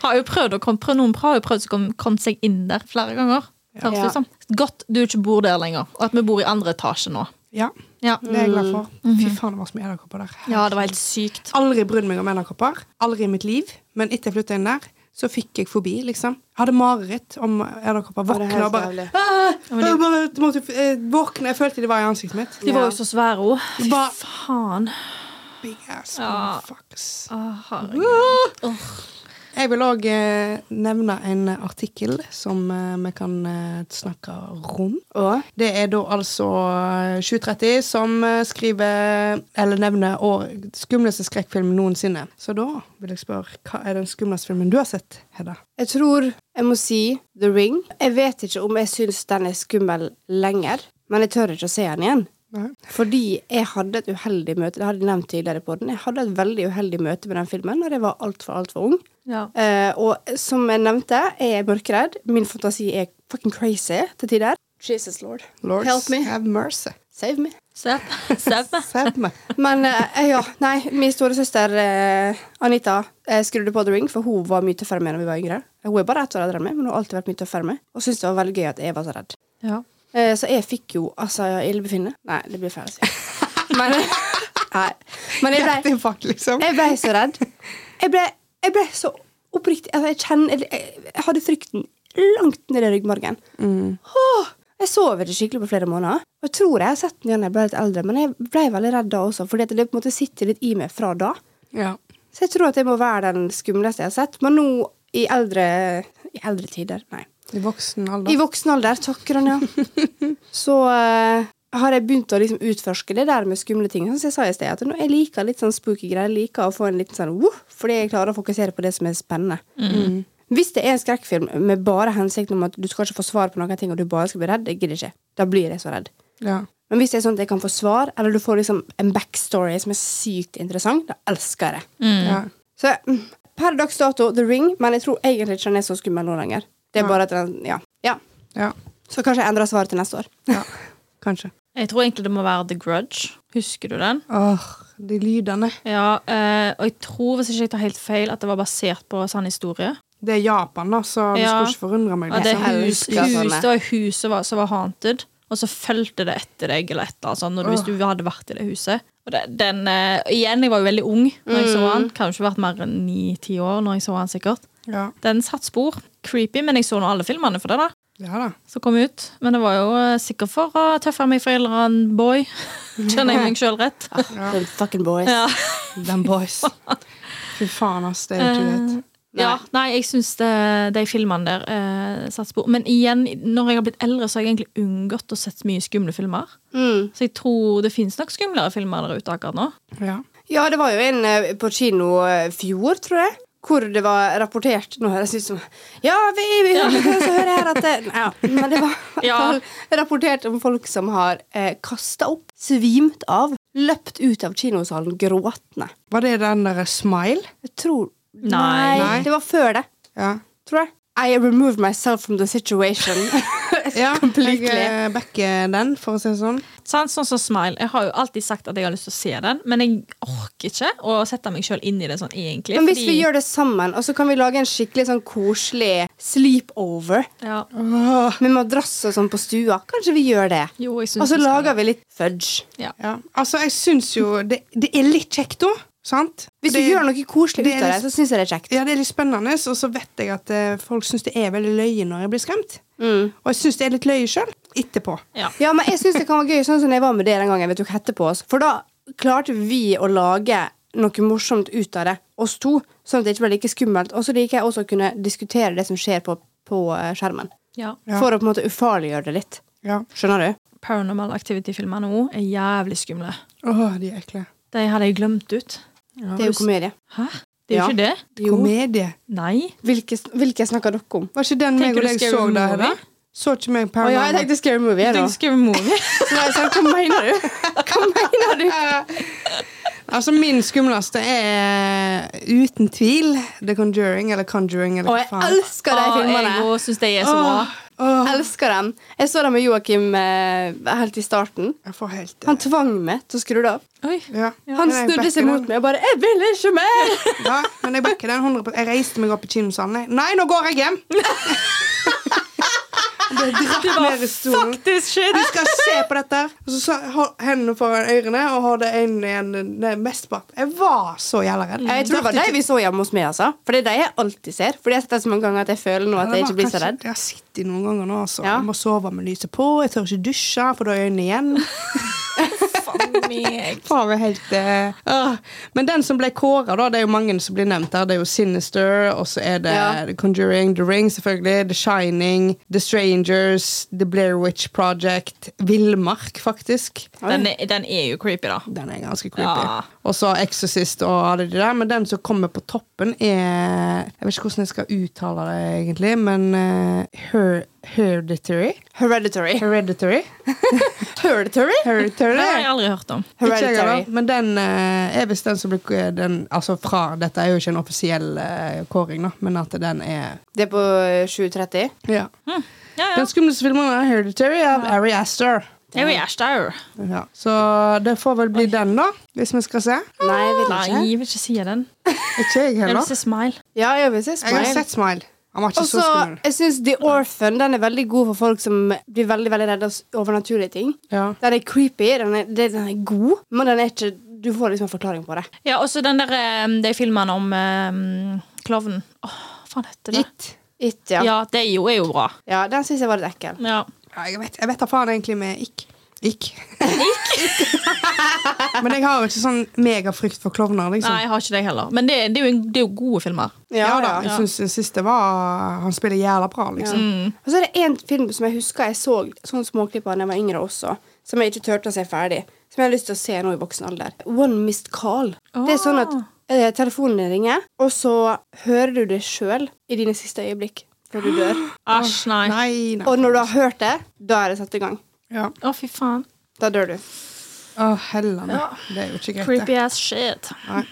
har jo prøvd å komme, prøv- noen har jo prøvd å komme, komme seg inn der flere ganger. Høres det Ja. ut som. Godt du ikke bor der lenger, og at vi bor i andre etasje nå. Ja, Ja, det er jeg glad for. Mm. Fy Mhm. faen, det var så mye edderkopper der. ja det var helt sykt. Aldri brydd meg om edderkopper. Aldri i mitt liv. Men etter jeg flytta inn der, så fikk jeg fobi, liksom. Jeg hadde mareritt om edderkopper. Var det Våkna helt og bare jævlig? «Ah, Ja, men det- jeg bare måtte, eh, Våkne. Jeg følte de var i ansiktet mitt. De var jo så svære òg. Fy Hva- faen. Big ass Ja. motherfuckers. Å, Ah, herregud. Jeg vil òg eh, nevne en artikkel som eh, vi kan eh, snakke om. Og Det er da altså eh, 730 som eh, skriver Eller nevner år, skumleste skrekkfilm noensinne. Så da vil jeg spørre, hva er den skumleste filmen du har sett, Hedda? jeg tror jeg må si The Ring. Jeg vet ikke om jeg syns den er skummel lenger, men jeg tør ikke å se den igjen. Nei. Fordi jeg hadde et uheldig møte Det hadde jeg nevnt tidligere på den Jeg hadde et veldig uheldig møte med den filmen Når jeg var alt for, alt for ung Ja. Eh, Og som jeg nevnte, jeg er mørkredd Min fantasi er fucking crazy til tider Jesus Lord, Lords help me, have mercy. save me Se se på meg. Save me. Men eh, ja, nei, min store søster eh, Anita eh, skrudde på The Ring, for hun var mye tøffere med da vi var yngre. Hun er bare ett år eldre enn meg, men hun har alltid vært mye tøffere med. Og syntes det var veldig gøy at jeg var så redd. Ja. Eh, så jeg fikk jo altså ildbefinne. Nei, det blir feil å si. Men, nei. men jeg ble, Hjerteinfarkt, liksom. jeg ble så redd. Jeg ble, jeg ble så oppriktig altså, jeg, kjenner, jeg, jeg hadde frykten langt ned i ryggmargen. Åh, jeg sov ikke skikkelig på flere måneder. Og jeg tror jeg har sett den igjen da jeg ble litt eldre, men jeg ble veldig redd da også, fordi at det på en måte sitter litt i meg fra da. Ja. Så jeg tror at jeg må være den skumleste jeg har sett. Men nå, i eldre, i eldre tider Nei. I voksen I alder. voksen alder, takker han, ja. Så eh, har jeg begynt å liksom utforske det der med skumle ting. Sånn som jeg sa i sted, at nå- jeg liker litt sånn spooky greier. Jeg liker å få en liten sånn «Wuh!» fordi jeg klarer å fokusere på det som er spennende. Mm. Hvis det er en skrekkfilm med bare hensikten om at du skal ikke få svar på noen ting, og du bare skal bli redd, jeg gidder ikke. Da blir jeg så redd. Ja. Men hvis det er sånn at jeg kan få svar, eller du får liksom en backstory som er sykt interessant, da elsker jeg det. Ja. Så mm, per dags dato The Ring, men jeg tror egentlig ikke den er så skummel nå lenger. Det er Nei. bare at den, ja. ja. ja. Så kanskje jeg endrer svaret til neste år. ja. Kanskje. Jeg tror egentlig det må være The Grudge. Husker du den? Åh, de lydene. Ja, eh, og jeg tror, hvis ikke jeg tar helt feil, at det var basert på sann historie. Det er Japan, da, så du Ja. skulle ikke forundre meg. Ja, det, liksom. hus, elsker hus, sånne. det var huset som var- som var haunted, og så fulgte det etter deg eller et eller annet, sånt, når du, hvis du hadde vært i det huset. Og det, den, eh, igjen, jeg var jo veldig ung når jeg så han. Kan jo ikke vært mer enn ni-ti år når jeg så han sikkert. Ja. Den satt spor. Creepy, men jeg så nå alle filmene for det da, ja da. som kom ut. Men det var jo eh, sikkert for å tøffe meg for en eller annen boy. Kjenner jeg meg sjøl rett? Little fucking boys. Ja. Them boys. Fy faen, ass. Det er jo ikke Eh. greit. Eh, Ja, nei, jeg syns de filmene der eh, satte spor. Men igjen, når jeg har blitt eldre, så har jeg egentlig unngått å sett mye skumle filmer. Mm. Så jeg tror det fins nok skumlere filmer der ute akkurat nå. Ja. Ja, det var jo en eh, på kino eh, fjor, tror jeg. Hvor det var rapportert Nå høres det ut som Ja, vi, vi så hører jeg her at det, Nei, ja. Men det var i Ja. hvert fall rapportert om folk som har eh, kasta opp, svimt av, løpt ut av kinosalen gråtende. Var det den derre smile? Jeg tror Nei. Nei. Det var før det, Ja. tror jeg. I removed myself from the situation. ja jeg Completely. eh, backer den, for å si det sånn. Sant? Sånn som Smile. Jeg har jo alltid sagt at jeg har lyst til å se den, men jeg orker ikke å sette meg sjøl inn i det sånn egentlig. Men hvis vi gjør det sammen, og så kan vi lage en skikkelig sånn koselig sleepover ja. Åh. med madrass og sånn på stua, kanskje vi gjør det. Jo, jeg Og syns så lager vi litt fudge. Ja. Altså, jeg syns jo det, det er litt kjekt, da. Sant? Hvis du Det- gjør noe koselig det er ut av det, litt- så syns jeg det er kjekt. Ja, det er litt spennende, Mm. og så vet jeg at eh, folk syns det er veldig løye når jeg blir skremt. Og jeg syns det er litt løye sjøl. etterpå. Ja. Ja, men jeg synes det kan være gøy, sånn som jeg var med det den gangen. Vi tok hette på oss. altså. For da klarte vi å lage noe morsomt ut av det, oss to. Sånn at det ikke ble like skummelt. Og så liker jeg også å kunne diskutere det som skjer på, på eh, skjermen. Ja. Ja. For å på en måte ufarliggjøre det litt. Ja. Skjønner du? Paranormal Activity-filmerne òg er jævlig skumle. Åh, de er ekle. De hadde jeg glemt ut. Det er jo komedie. Hæ? Det er jo Ja. ikke det. Jo. Komedie. Nei. Hvilke, sn- hvilke snakker dere om? Var ikke den meg Tenker og du deg Scary så der, Movie? eller? Så ikke meg Å ja, jeg Paranormal? tenkte Scary Movie. Jeg Jeg, nå. tenkte Scary Movie. Så jeg sa, Hva mener du? Hva mener du? Altså, min skumleste er eh, uten tvil The Conjuring, eller Conjuring, eller Og hva jeg faen. elsker de Å, filmene. jeg òg syns de er så bra. Åh, Jeg elsker den. Jeg så den med Joakim eh, helt i starten. jeg får helt Han tvang meg til å skru det opp. Oi. ja. Han Men jeg snudde seg backer mot den. meg og bare 'Jeg vil ikke mer!' Ja, men jeg backer den 100 Jeg reiste meg opp i kinoen og sa nei. Nei, nå går jeg hjem! Det dratt ned i stolen. Fuck this shit! Du skal se på dette! her. Og så sa hold hendene foran ørene og hadde øynene igjen det mest bak. Jeg var så jævla redd. Jeg tror det var de vi så hjemme hos meg. altså For det er de jeg alltid ser. Fordi jeg har sett den så mange ganger at jeg føler nå at jeg ikke blir så redd. Jeg har sittet noen ganger nå, altså. Ja. Jeg må sove med lyset på. Jeg tør ikke dusje, for da er øynene igjen. Faen meg. Far er helt eh, ah. Men den som ble kåra, da, det er jo mange som blir nevnt her. Det er jo Sinister, og så er det Ja. The Conjuring, The Ring, selvfølgelig. The Shining, The Strangers, The Blair Witch Project. Villmark, faktisk. Den er, den er jo creepy, da. Den er ganske creepy. Ja. Og så Exorcist og alle de der. Men den som kommer på toppen, er Jeg vet ikke hvordan jeg skal uttale det, egentlig, men eh, her Hereditary. Hereditary. Hereditary. Hereditary? Det Hereditary. har jeg aldri hørt om. Ikke jeg Hereditary. heller, men den eh, er visst den som blir den, Altså fra Dette er jo ikke en offisiell eh, kåring, da, men at den er Det er på eh, 7.30. ja. Ja, ja. Den skumleste filmen er 'Hereditary' av Ari Aster. Det er jo Ashdow. Ja. Så det får vel bli den, da, hvis vi skal se. Nei, jeg vil Nei, ikke. jeg vil ikke si den. Ikke jeg Jeg vil heller. si Smile. Ja, jeg vil se Jeg har Smile. sett Smile. Han var ikke Og så så skummel. jeg syns The Orphan den er veldig god for folk som blir veldig veldig redde av overnaturlige ting. Ja. Den er creepy, den er, den er god, men den er ikke Du får liksom en forklaring på det. Ja, og så den der eh, de filmene om eh, klovnen. Åh, hva faen heter det? It. It, ja. Ja, ja. det er jo, er jo bra. den syns jeg var litt ekkel. Ja. Ja, jeg vet, jeg vet da faen egentlig med ikk. Ikk. men jeg har jo ikke sånn megafrykt for klovner, liksom. Nei, jeg har ikke det heller. Men det, det, er, jo en, det er jo gode filmer. Ja, da, ja. Mm, jeg syns den siste var Han spiller jævla bra, liksom. Og så er det en film som jeg husker jeg så sånn småklipp av da jeg var yngre også, som jeg ikke turte å se ferdig, som jeg har lyst til å se nå i voksen alder. One Missed Call. Det er sånn at Ah. eh, telefonen din ringer, og så hører du det sjøl i dine siste øyeblikk før du dør. Ah. Æsj, nei. Å, Nei, nei. Og når du har hørt det, da er det satt i gang. Ja. fy faen. Da dør du. Å, hellene. Det er jo ikke greit, Creepy det. ass shit. Nei.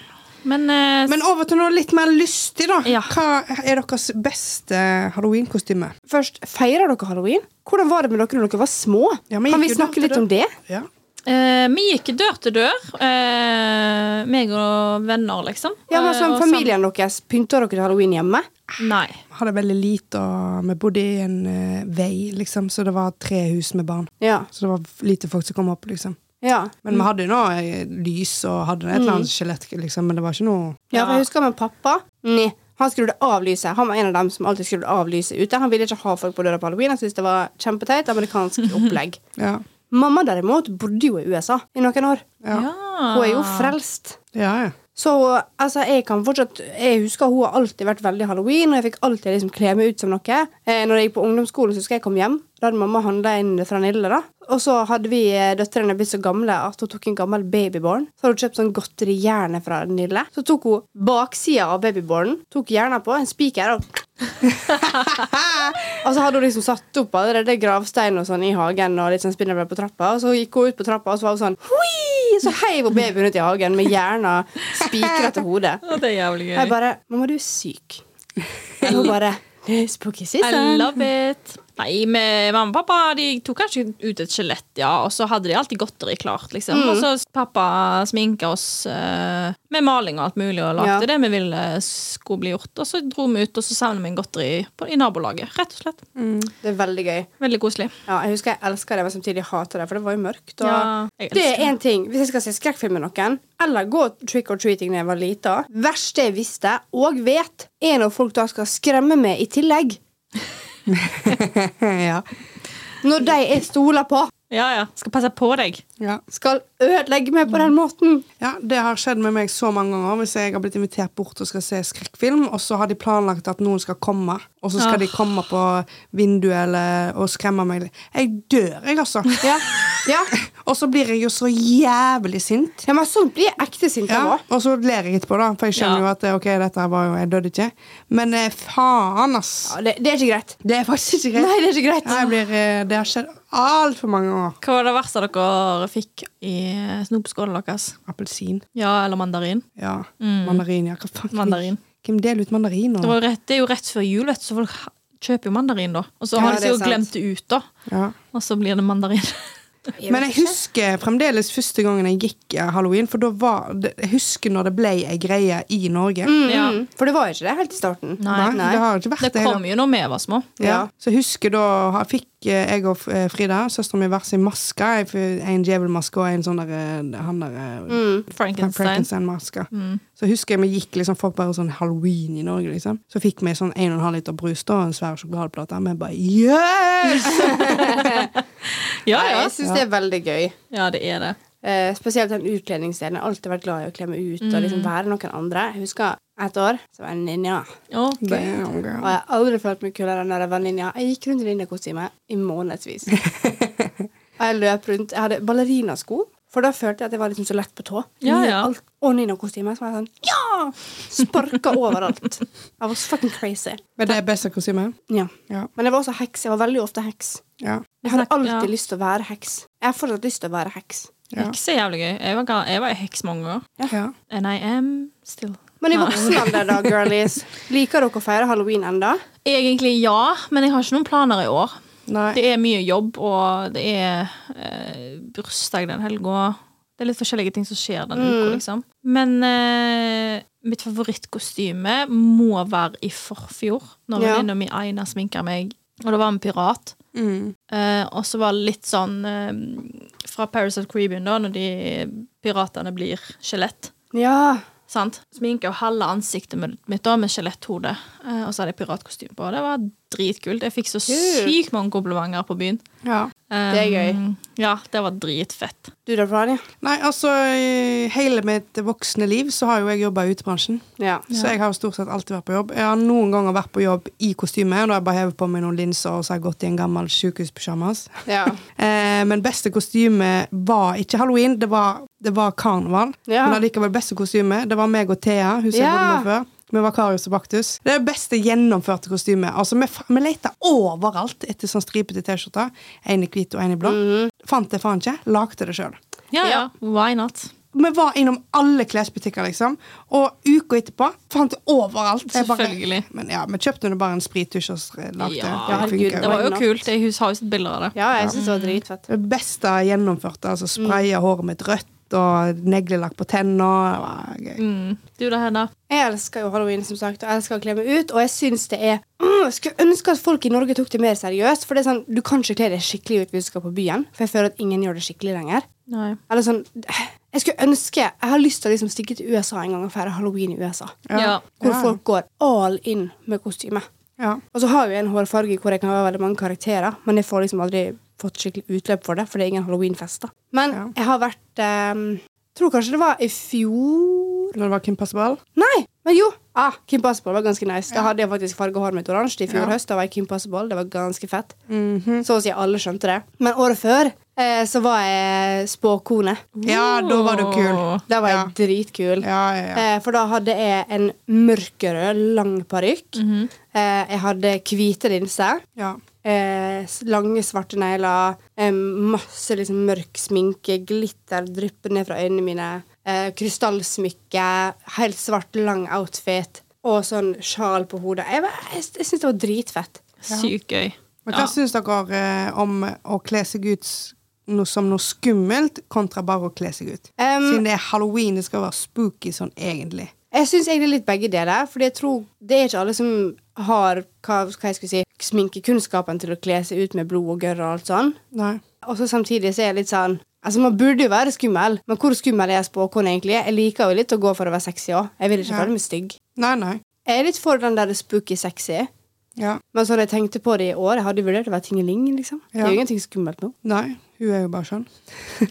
Men, eh, Men over til noe litt mer lystig, da. Ja. Hva er deres beste halloweenkostyme? Først, feirer dere halloween? Hvordan var det med dere når dere var små? Ja, men kan vi gikk jo snakke det- litt om det? Ja. eh, vi gikk dør til dør. Eh, meg og venner, liksom. Ja, men Eh, sånn, og Familien deres, pynter dere til halloween hjemme? sam- Nei. Hadde veldig lite, og vi bodde i en eh, vei, liksom, så det var tre hus med barn. Ja. Så det var lite folk som kom opp, liksom. Ja. Men Mm. vi hadde jo nå eh, lys og hadde et eller annet skjelett, liksom, men det var ikke noe Ja, for jeg husker med pappa Nei, Han skrudde av lyset. Han var en av dem som alltid skrudde av lyset ute. Han ville ikke ha folk på døra på halloween. Han syntes det var kjempeteit amerikansk opplegg. Ja. Mamma derimot bodde jo i USA i noen år. Ja. Hun er jo Ah. frelst. ja, ja. Så altså, jeg kan fortsatt Jeg husker hun har alltid vært veldig halloween, og jeg fikk alltid liksom kle meg ut som noe. Eh, når jeg gikk på ungdomsskolen, så husker jeg kom hjem. Da hadde mamma handla inn fra Nille, da. Og så hadde vi eh, døtrene blitt så gamle at hun tok en gammel babyborn. Så hadde hun kjøpt sånn godterihjerne fra Nille. Så tok hun baksida av babybornen, tok hjerna på, en spiker og og så hadde hun liksom satt opp allerede gravstein og sånn i hagen og litt sånn spindelvev på trappa. Og så gikk hun ut på trappa, og så var hun sånn Hui! Så heiv hun babyen ut i hagen med hjerna spikra til hodet. Å, det er jævlig Og jeg gøy. bare Mamma, du er syk. Og hun bare «Det er Spooky I season. love it. Nei, med mamma og pappa de tok kanskje ut et skjelett, ja, og så hadde de alltid godteri klart. liksom. Mm. Og så pappa sminka oss eh, med maling og alt mulig og lagde Ja. det vi ville skulle bli gjort. Og så dro vi ut, og så savna vi en godteri på, i nabolaget. Rett og slett. Det er veldig gøy. Veldig koselig. Ja, jeg husker jeg elska det, men samtidig hata det, for det var jo mørkt. Og Ja, jeg elsker det er én ting. Hvis jeg skal se skrekkfilm med noen, eller gå trick or treating da jeg var lita Verste jeg visste, og vet, er når folk da skal skremme meg i tillegg. ja. når de jeg stoler på, Ja, ja. Skal passe på deg. Ja. skal ødelegge meg på den måten. Ja, Det har skjedd med meg så mange ganger hvis jeg har blitt invitert bort og skal se skrekkfilm, og så har de planlagt at noen skal komme, og så skal Ah. de komme på vinduet eller, og skremme meg. Jeg dør, jeg, altså. Ja, ja. Og så blir jeg jo så jævlig sint. ja men sånn blir jeg ekte sint av Ja, òg. og så ler jeg etterpå, da, for jeg skjønner Ja. jo at eh, ok, dette var jo, jeg døde ikke. Men eh, faen, ass. Ja, det, det er ikke greit. Det er faktisk ikke greit. Nei, det er ikke greit. Ja, jeg blir, eh, det har skjedd altfor mange ganger. Hva var det verste dere fikk i snopskålen deres? Appelsin. Ja, eller mandarin? Ja. Mm. Mandarin, ja. Hva faen? Mandarin. Hvem deler ut mandariner? Det, var jo rett, det er jo rett før jul, vet du, så folk ha- kjøper jo mandarin da. Og så Ja, har de det er sikkert glemt det ut, da. Ja. Og så blir det mandarin. Men jeg husker fremdeles første gangen jeg gikk eh, halloween, for da var det, Jeg husker når det ble ei greie i Norge. Mm, Ja. mm. For det var jo ikke det helt i starten. Nei. Nei, Det har ikke vært Ah, Det det. hele- kom jo når vi var små. Ja. Ja. Så jeg husker da ha- fikk eh, jeg og eh, Frida, søsteren min, hver sin maske. Jeg f- En djevelmaske og en sånn der, eh, han der eh, Mm, Frankenstein. Mm. Frankenstein-maske. Så husker jeg vi gikk liksom, folk bare sånn halloween i Norge, liksom. Så fikk vi sånn 1,5 liter brus da, og en svær sjokoladeplate. Vi bare yes! Ja, Nei, ja. Jeg syns det er veldig gøy. ja, det er det. Eh, spesielt den utkledningsdelen. Jeg har alltid vært glad i å kle meg ut Mm. og liksom være noen andre. Jeg husker et år så var jeg en ninja. Ok. Damn, Og girl. jeg har aldri følt meg kulere enn når jeg var ninja. Jeg gikk rundt i ninjakostyme i månedsvis. og jeg løp rundt. Jeg hadde ballerinasko, for da følte jeg at jeg var liksom så lett på tå. Ja, Ninja- ja. alt- Og ninjakostyme. Så var jeg sånn Ja! Sparka overalt. I was fucking crazy. Men det er best å kostyme? Ja. Ja. Men jeg var også heks. Jeg var veldig ofte heks. ja. Jeg hadde snakker- alltid ja. lyst til å være heks. Jeg har fortsatt lyst til å være heks. Ja. Ikke så jævlig gøy. Jeg var, ga- jeg var heks mange ganger. ja. And I am still. Men i Ja. voksen alder, da, girlies, liker dere å feire halloween enda? Egentlig ja, men jeg har ikke noen planer i år. Nei. Det er mye jobb, og det er eh, bursdag den helga. Det er litt forskjellige ting som skjer den uka, liksom. Men eh, mitt favorittkostyme må være i forfjor, når Ja. venninna mi Aina sminker meg. Og da var vi pirat. Mm. Eh, og så var det litt sånn eh, fra Paris of Caribbean, da, når de piratene blir skjelett. Ja. Sant? Sminke og halve ansiktet med- mitt da, med skjeletthode. Eh, og så hadde jeg piratkostyme på. Det var dritkult. Jeg fikk så Kult. sykt mange komplimenter på byen. Ja. Um, Det er gøy. Ja, det var dritfett. Du da, Frani? Nei, altså i hele mitt voksne liv så har jo jeg jobba i utebransjen. Ja. Så jeg har jo stort sett alltid vært på jobb. Jeg har noen ganger vært på jobb i kostyme, og da har jeg bare hevet på meg noen linser og så har jeg gått i en gammel sykehuspysjamas. Ja. Eh, men beste kostyme var ikke halloween, det var, det var karneval. Ja. Men allikevel beste kostyme. Det var meg og Thea, hun som jeg bodde Ja. med før. Vi var Karius og Baktus. Det er det beste gjennomførte kostymet. Altså, vi, fa- vi lette overalt etter sånn stripete T-skjorter. En i hvit og en i blå. Mhm. Fant det faen ikke. Lagde det sjøl. Ja, Ja. ja. Why not? Vi var innom alle klesbutikker, liksom. Og uka etterpå fant det overalt. Jeg bare- Selvfølgelig. men ja, Vi kjøpte nå bare en sprittusj og s- lagde det. Ja, herregud, funker jo. Det var jo Why not? kult. Jeg hus- har jo sett bilder av det. ja, jeg syns det var dritfett. Det beste gjennomførte. altså Spraya håret mitt rødt og neglelakk på tenna. Det var gøy. Mm. Du da, Hedda? Jeg elsker jo halloween, som sagt, og jeg elsker å kle meg ut. Og jeg syns det er mm, jeg Skulle ønske at folk i Norge tok det mer seriøst. For det er sånn, du kan ikke kle deg skikkelig ut hvis du skal på byen, for jeg føler at ingen gjør det skikkelig lenger. Nei. Eller sånn Jeg skulle ønske Jeg har lyst til å liksom stikke til USA en gang og feire halloween i USA. Ja. Hvor Ja. folk går all in med kostyme. Ja. Og så har vi en hårfarge hvor jeg kan være veldig mange karakterer, men jeg får liksom aldri fått skikkelig utløp for det, for det er ingen halloweenfest. da. Men Ja. jeg har vært um, Tror kanskje det var i fjor Når det var Kim Passabal? Nei, men jo! Ah, Kim Possible var ganske nice. Da hadde jeg faktisk farga håret mitt oransje i fjor Ja. Mhm. høst. Da var jeg Kim Possible. Det var ganske fett. Så å si alle skjønte det. Men året før eh, så var jeg spåkone. Ja, da var du kul. Da var Ja. jeg dritkul. Ja, ja, ja. Eh, for da hadde jeg en mørkerød, lang parykk. Mhm. eh, jeg hadde hvite linser. ja. Eh, s- lange, svarte negler. Eh, masse liksom mørk sminke. Glitter drypper ned fra øynene mine. Eh, krystallsmykke. Helt svart, lang outfit. Og sånn sjal på hodet. Jeg, var- jeg, jeg syns det var dritfett. Sykt gøy. Men Ja. hva syns dere eh, om å kle seg ut s- noe som noe skummelt, kontra bare å kle seg ut? Um, Siden det er halloween, det skal være spooky sånn egentlig. Jeg syns egentlig litt begge deler, Fordi jeg tror det er ikke alle som har hva, hva jeg skulle si, sminkekunnskapen til å kle seg ut med blod og gørr og alt sånn. Nei. Og så samtidig så er jeg litt sånn Altså, Man burde jo være skummel, men hvor skummel er spåkone egentlig? Jeg liker jo litt å gå for å være sexy òg. Jeg vil ikke Ja. føle meg stygg. Nei, nei. Jeg er litt for den der spooky sexy. Ja. Men sånn jeg tenkte på det i år, jeg hadde vurdert å være tingeling, liksom. Det Ja. er jo ingenting skummelt nå. Nei, hun er jo bare sånn.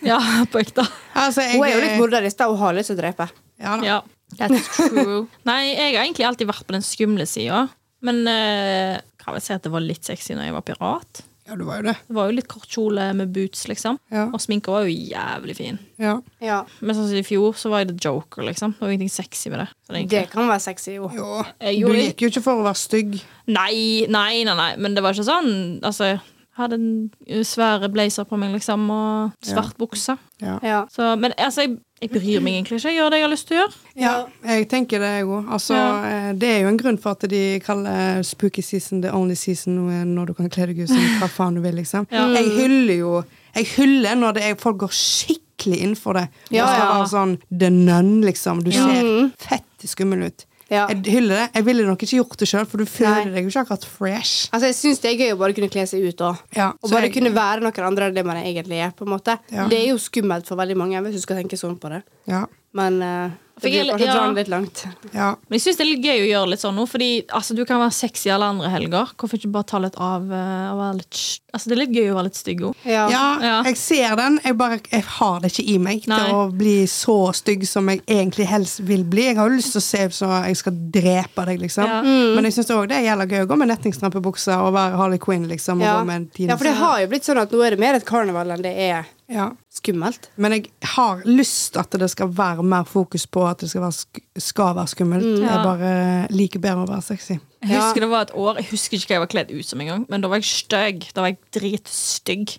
Ja, på ekte. Altså, jeg Hun er jo litt morderisk, da. Hun har lyst til å drepe. Ja, da. Ja. That's true. Nei, jeg har egentlig alltid vært på den skumle sida. Men eh, kan vel si at det var litt sexy når jeg var pirat. ja, du var jo det. Det var jo litt kort kjole med boots, liksom. Ja. Og sminka var jo jævlig fin. Ja. Ja. Men sånn som i fjor, så var jeg the joker, liksom. Det var ingenting sexy med det. Så det er Det egentlig- kan være sexy, jo. Jo. Jeg Du gjorde det. gikk jo ikke for å være stygg. Nei, nei, nei, nei. Men det var ikke sånn. Altså, jeg hadde en eh, svære blazer på meg, liksom, og svart bukse. Ja. Ja. Så, men altså, jeg, jeg bryr meg egentlig ikke. Jeg gjør det jeg har lyst til å gjøre. Ja, jeg tenker det, jeg òg. Altså, Ja. eh, Det er jo en grunn for at de kaller spooky season the only season når du kan kle deg ut som hva faen du vil, liksom. Ja. Jeg hyller jo Jeg hyller når det er, folk går skikkelig inn for det. Ja, og skal ja. være sånn the nun, liksom. Du Ja. ser fett skummel ut. Ja. Jeg hyller det. Jeg ville nok ikke gjort det sjøl, for du føler Nei. deg jo ikke akkurat fresh. Altså, jeg syns det er gøy å bare kunne kle seg ut òg. Ja, Og så bare jeg- kunne være noen andre enn det man egentlig er. på en måte Ja. Det er jo skummelt for veldig mange, hvis du skal tenke sånn på det. Ja. Men eh, For det blir jeg- kanskje å ja. dra den litt langt. ja. Men jeg synes det er litt gøy å gjøre litt sånn nå, fordi altså, du kan være sexy alle andre helger. Hvorfor ikke bare ta litt av eh, og være litt sh- Altså, det er litt gøy å være litt stygg òg. Ja. Ja, Ja. jeg ser den. Jeg, bare, jeg har det ikke i meg Nei. til å bli så stygg som jeg egentlig helst vil bli. Jeg har jo lyst til å se ut som jeg skal drepe deg, liksom. Ja. Mm. Men jeg syns òg det gjelder gøy å gå med nettingstrampebukse og være Harley Quinn, liksom. Og Ja. gå med en ja, for det har jo blitt sånn at nå er det mer et karneval enn det er ja. skummelt. Men jeg har lyst at det skal være mer fokus på at det skal være, sk skal være skummelt. Mm. Jeg bare liker bedre å være sexy. Jeg husker det var et år, jeg husker ikke hva jeg var kledd ut som engang, men da var jeg stygg. Da var jeg dritstygg.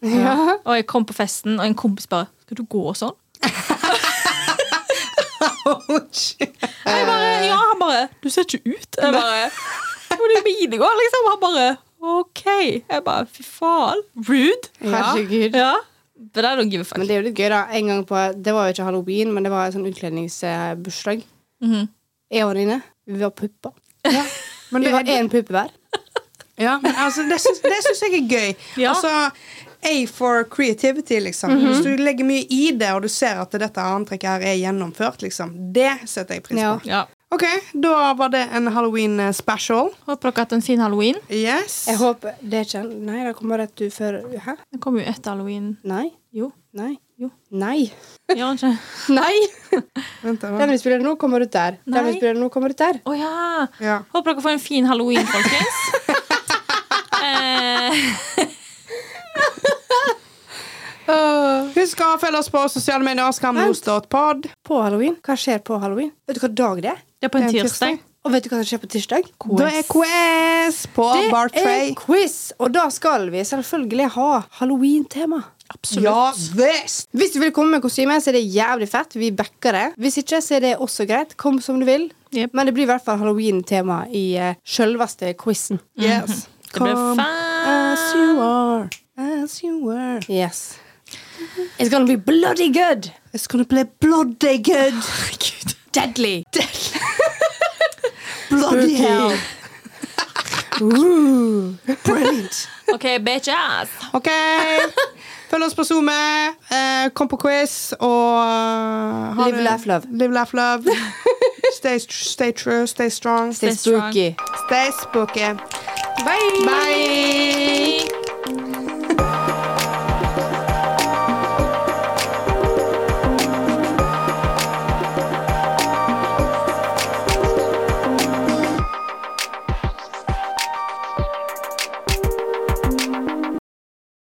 Og jeg kom på festen, og en kompis bare 'Skal du gå sånn?' Oh, Og jeg bare, Eh. ja, han bare 'Du ser ikke ut'. Jeg bare 'Hvor er mine går?' liksom. Han bare 'OK'. Jeg bare 'Fy faen. Rude'. Herregud. Ja. But I don't give a fuck. Men det er jo litt gøy, da. En gang på, det var jo ikke halloween, men det var en sånn utkledningsbursdag. Jeg og Nine, vi var pupper. Ja. Men Vi det, var én puppe hver. Ja, men altså, det syns, det syns jeg er gøy. Ja. Altså, A for creativity, liksom. Mhm. Hvis du legger mye i det, og du ser at dette antrekket her er gjennomført, liksom. Det setter jeg pris Ja. på. Ja. OK, da var det en halloween eh, special. Håper dere har hatt en fin halloween. Yes. Jeg håper Det er ikke Nei, det kommer rett ut før Hæ? Den kommer jo etter halloween. Nei. Jo. Nei. Jo. Nei. Gjør den ikke? Nei! Vent, da. Den vi spiller nå, kommer ut der. Den vi Nei. spiller nå, kommer ut der. Å ja. Ja. Håper dere får en fin halloween, folkens. eh, Husk å følge oss på sosiale medier. Skamlos.pod. På halloween. Hva skjer på halloween? Vet du hva dag det er? det er på en Det er en tirsdag. Og vet du hva som skjer på tirsdag? Da er quiz på Det Bartray. er quiz, og da skal vi selvfølgelig ha halloween-tema. Absolutt. Ja visst! Hvis du vil komme med kostyme, så er det jævlig fett. Vi backer det. Hvis ikke, så er det også greit. Kom som du vil. Jep. Men det blir i hvert fall halloween-tema i uh, sjølveste quizen. Mhm. Yes. Det blir Come Eh, as fan. you are. As you were. Yes. It's gonna be bloody good! It's gonna be bloody good. Deadly! Bloody hell. Ooh, brilliant. OK, bitches. OK. Følg oss på SoMe. eh, kom på quiz og eh, ha Live, det- laugh, love. Live, laugh, love. stay, stay true, stay strong, Stay Stay strong. spooky. stay spooky. Bye! Bye. Bye.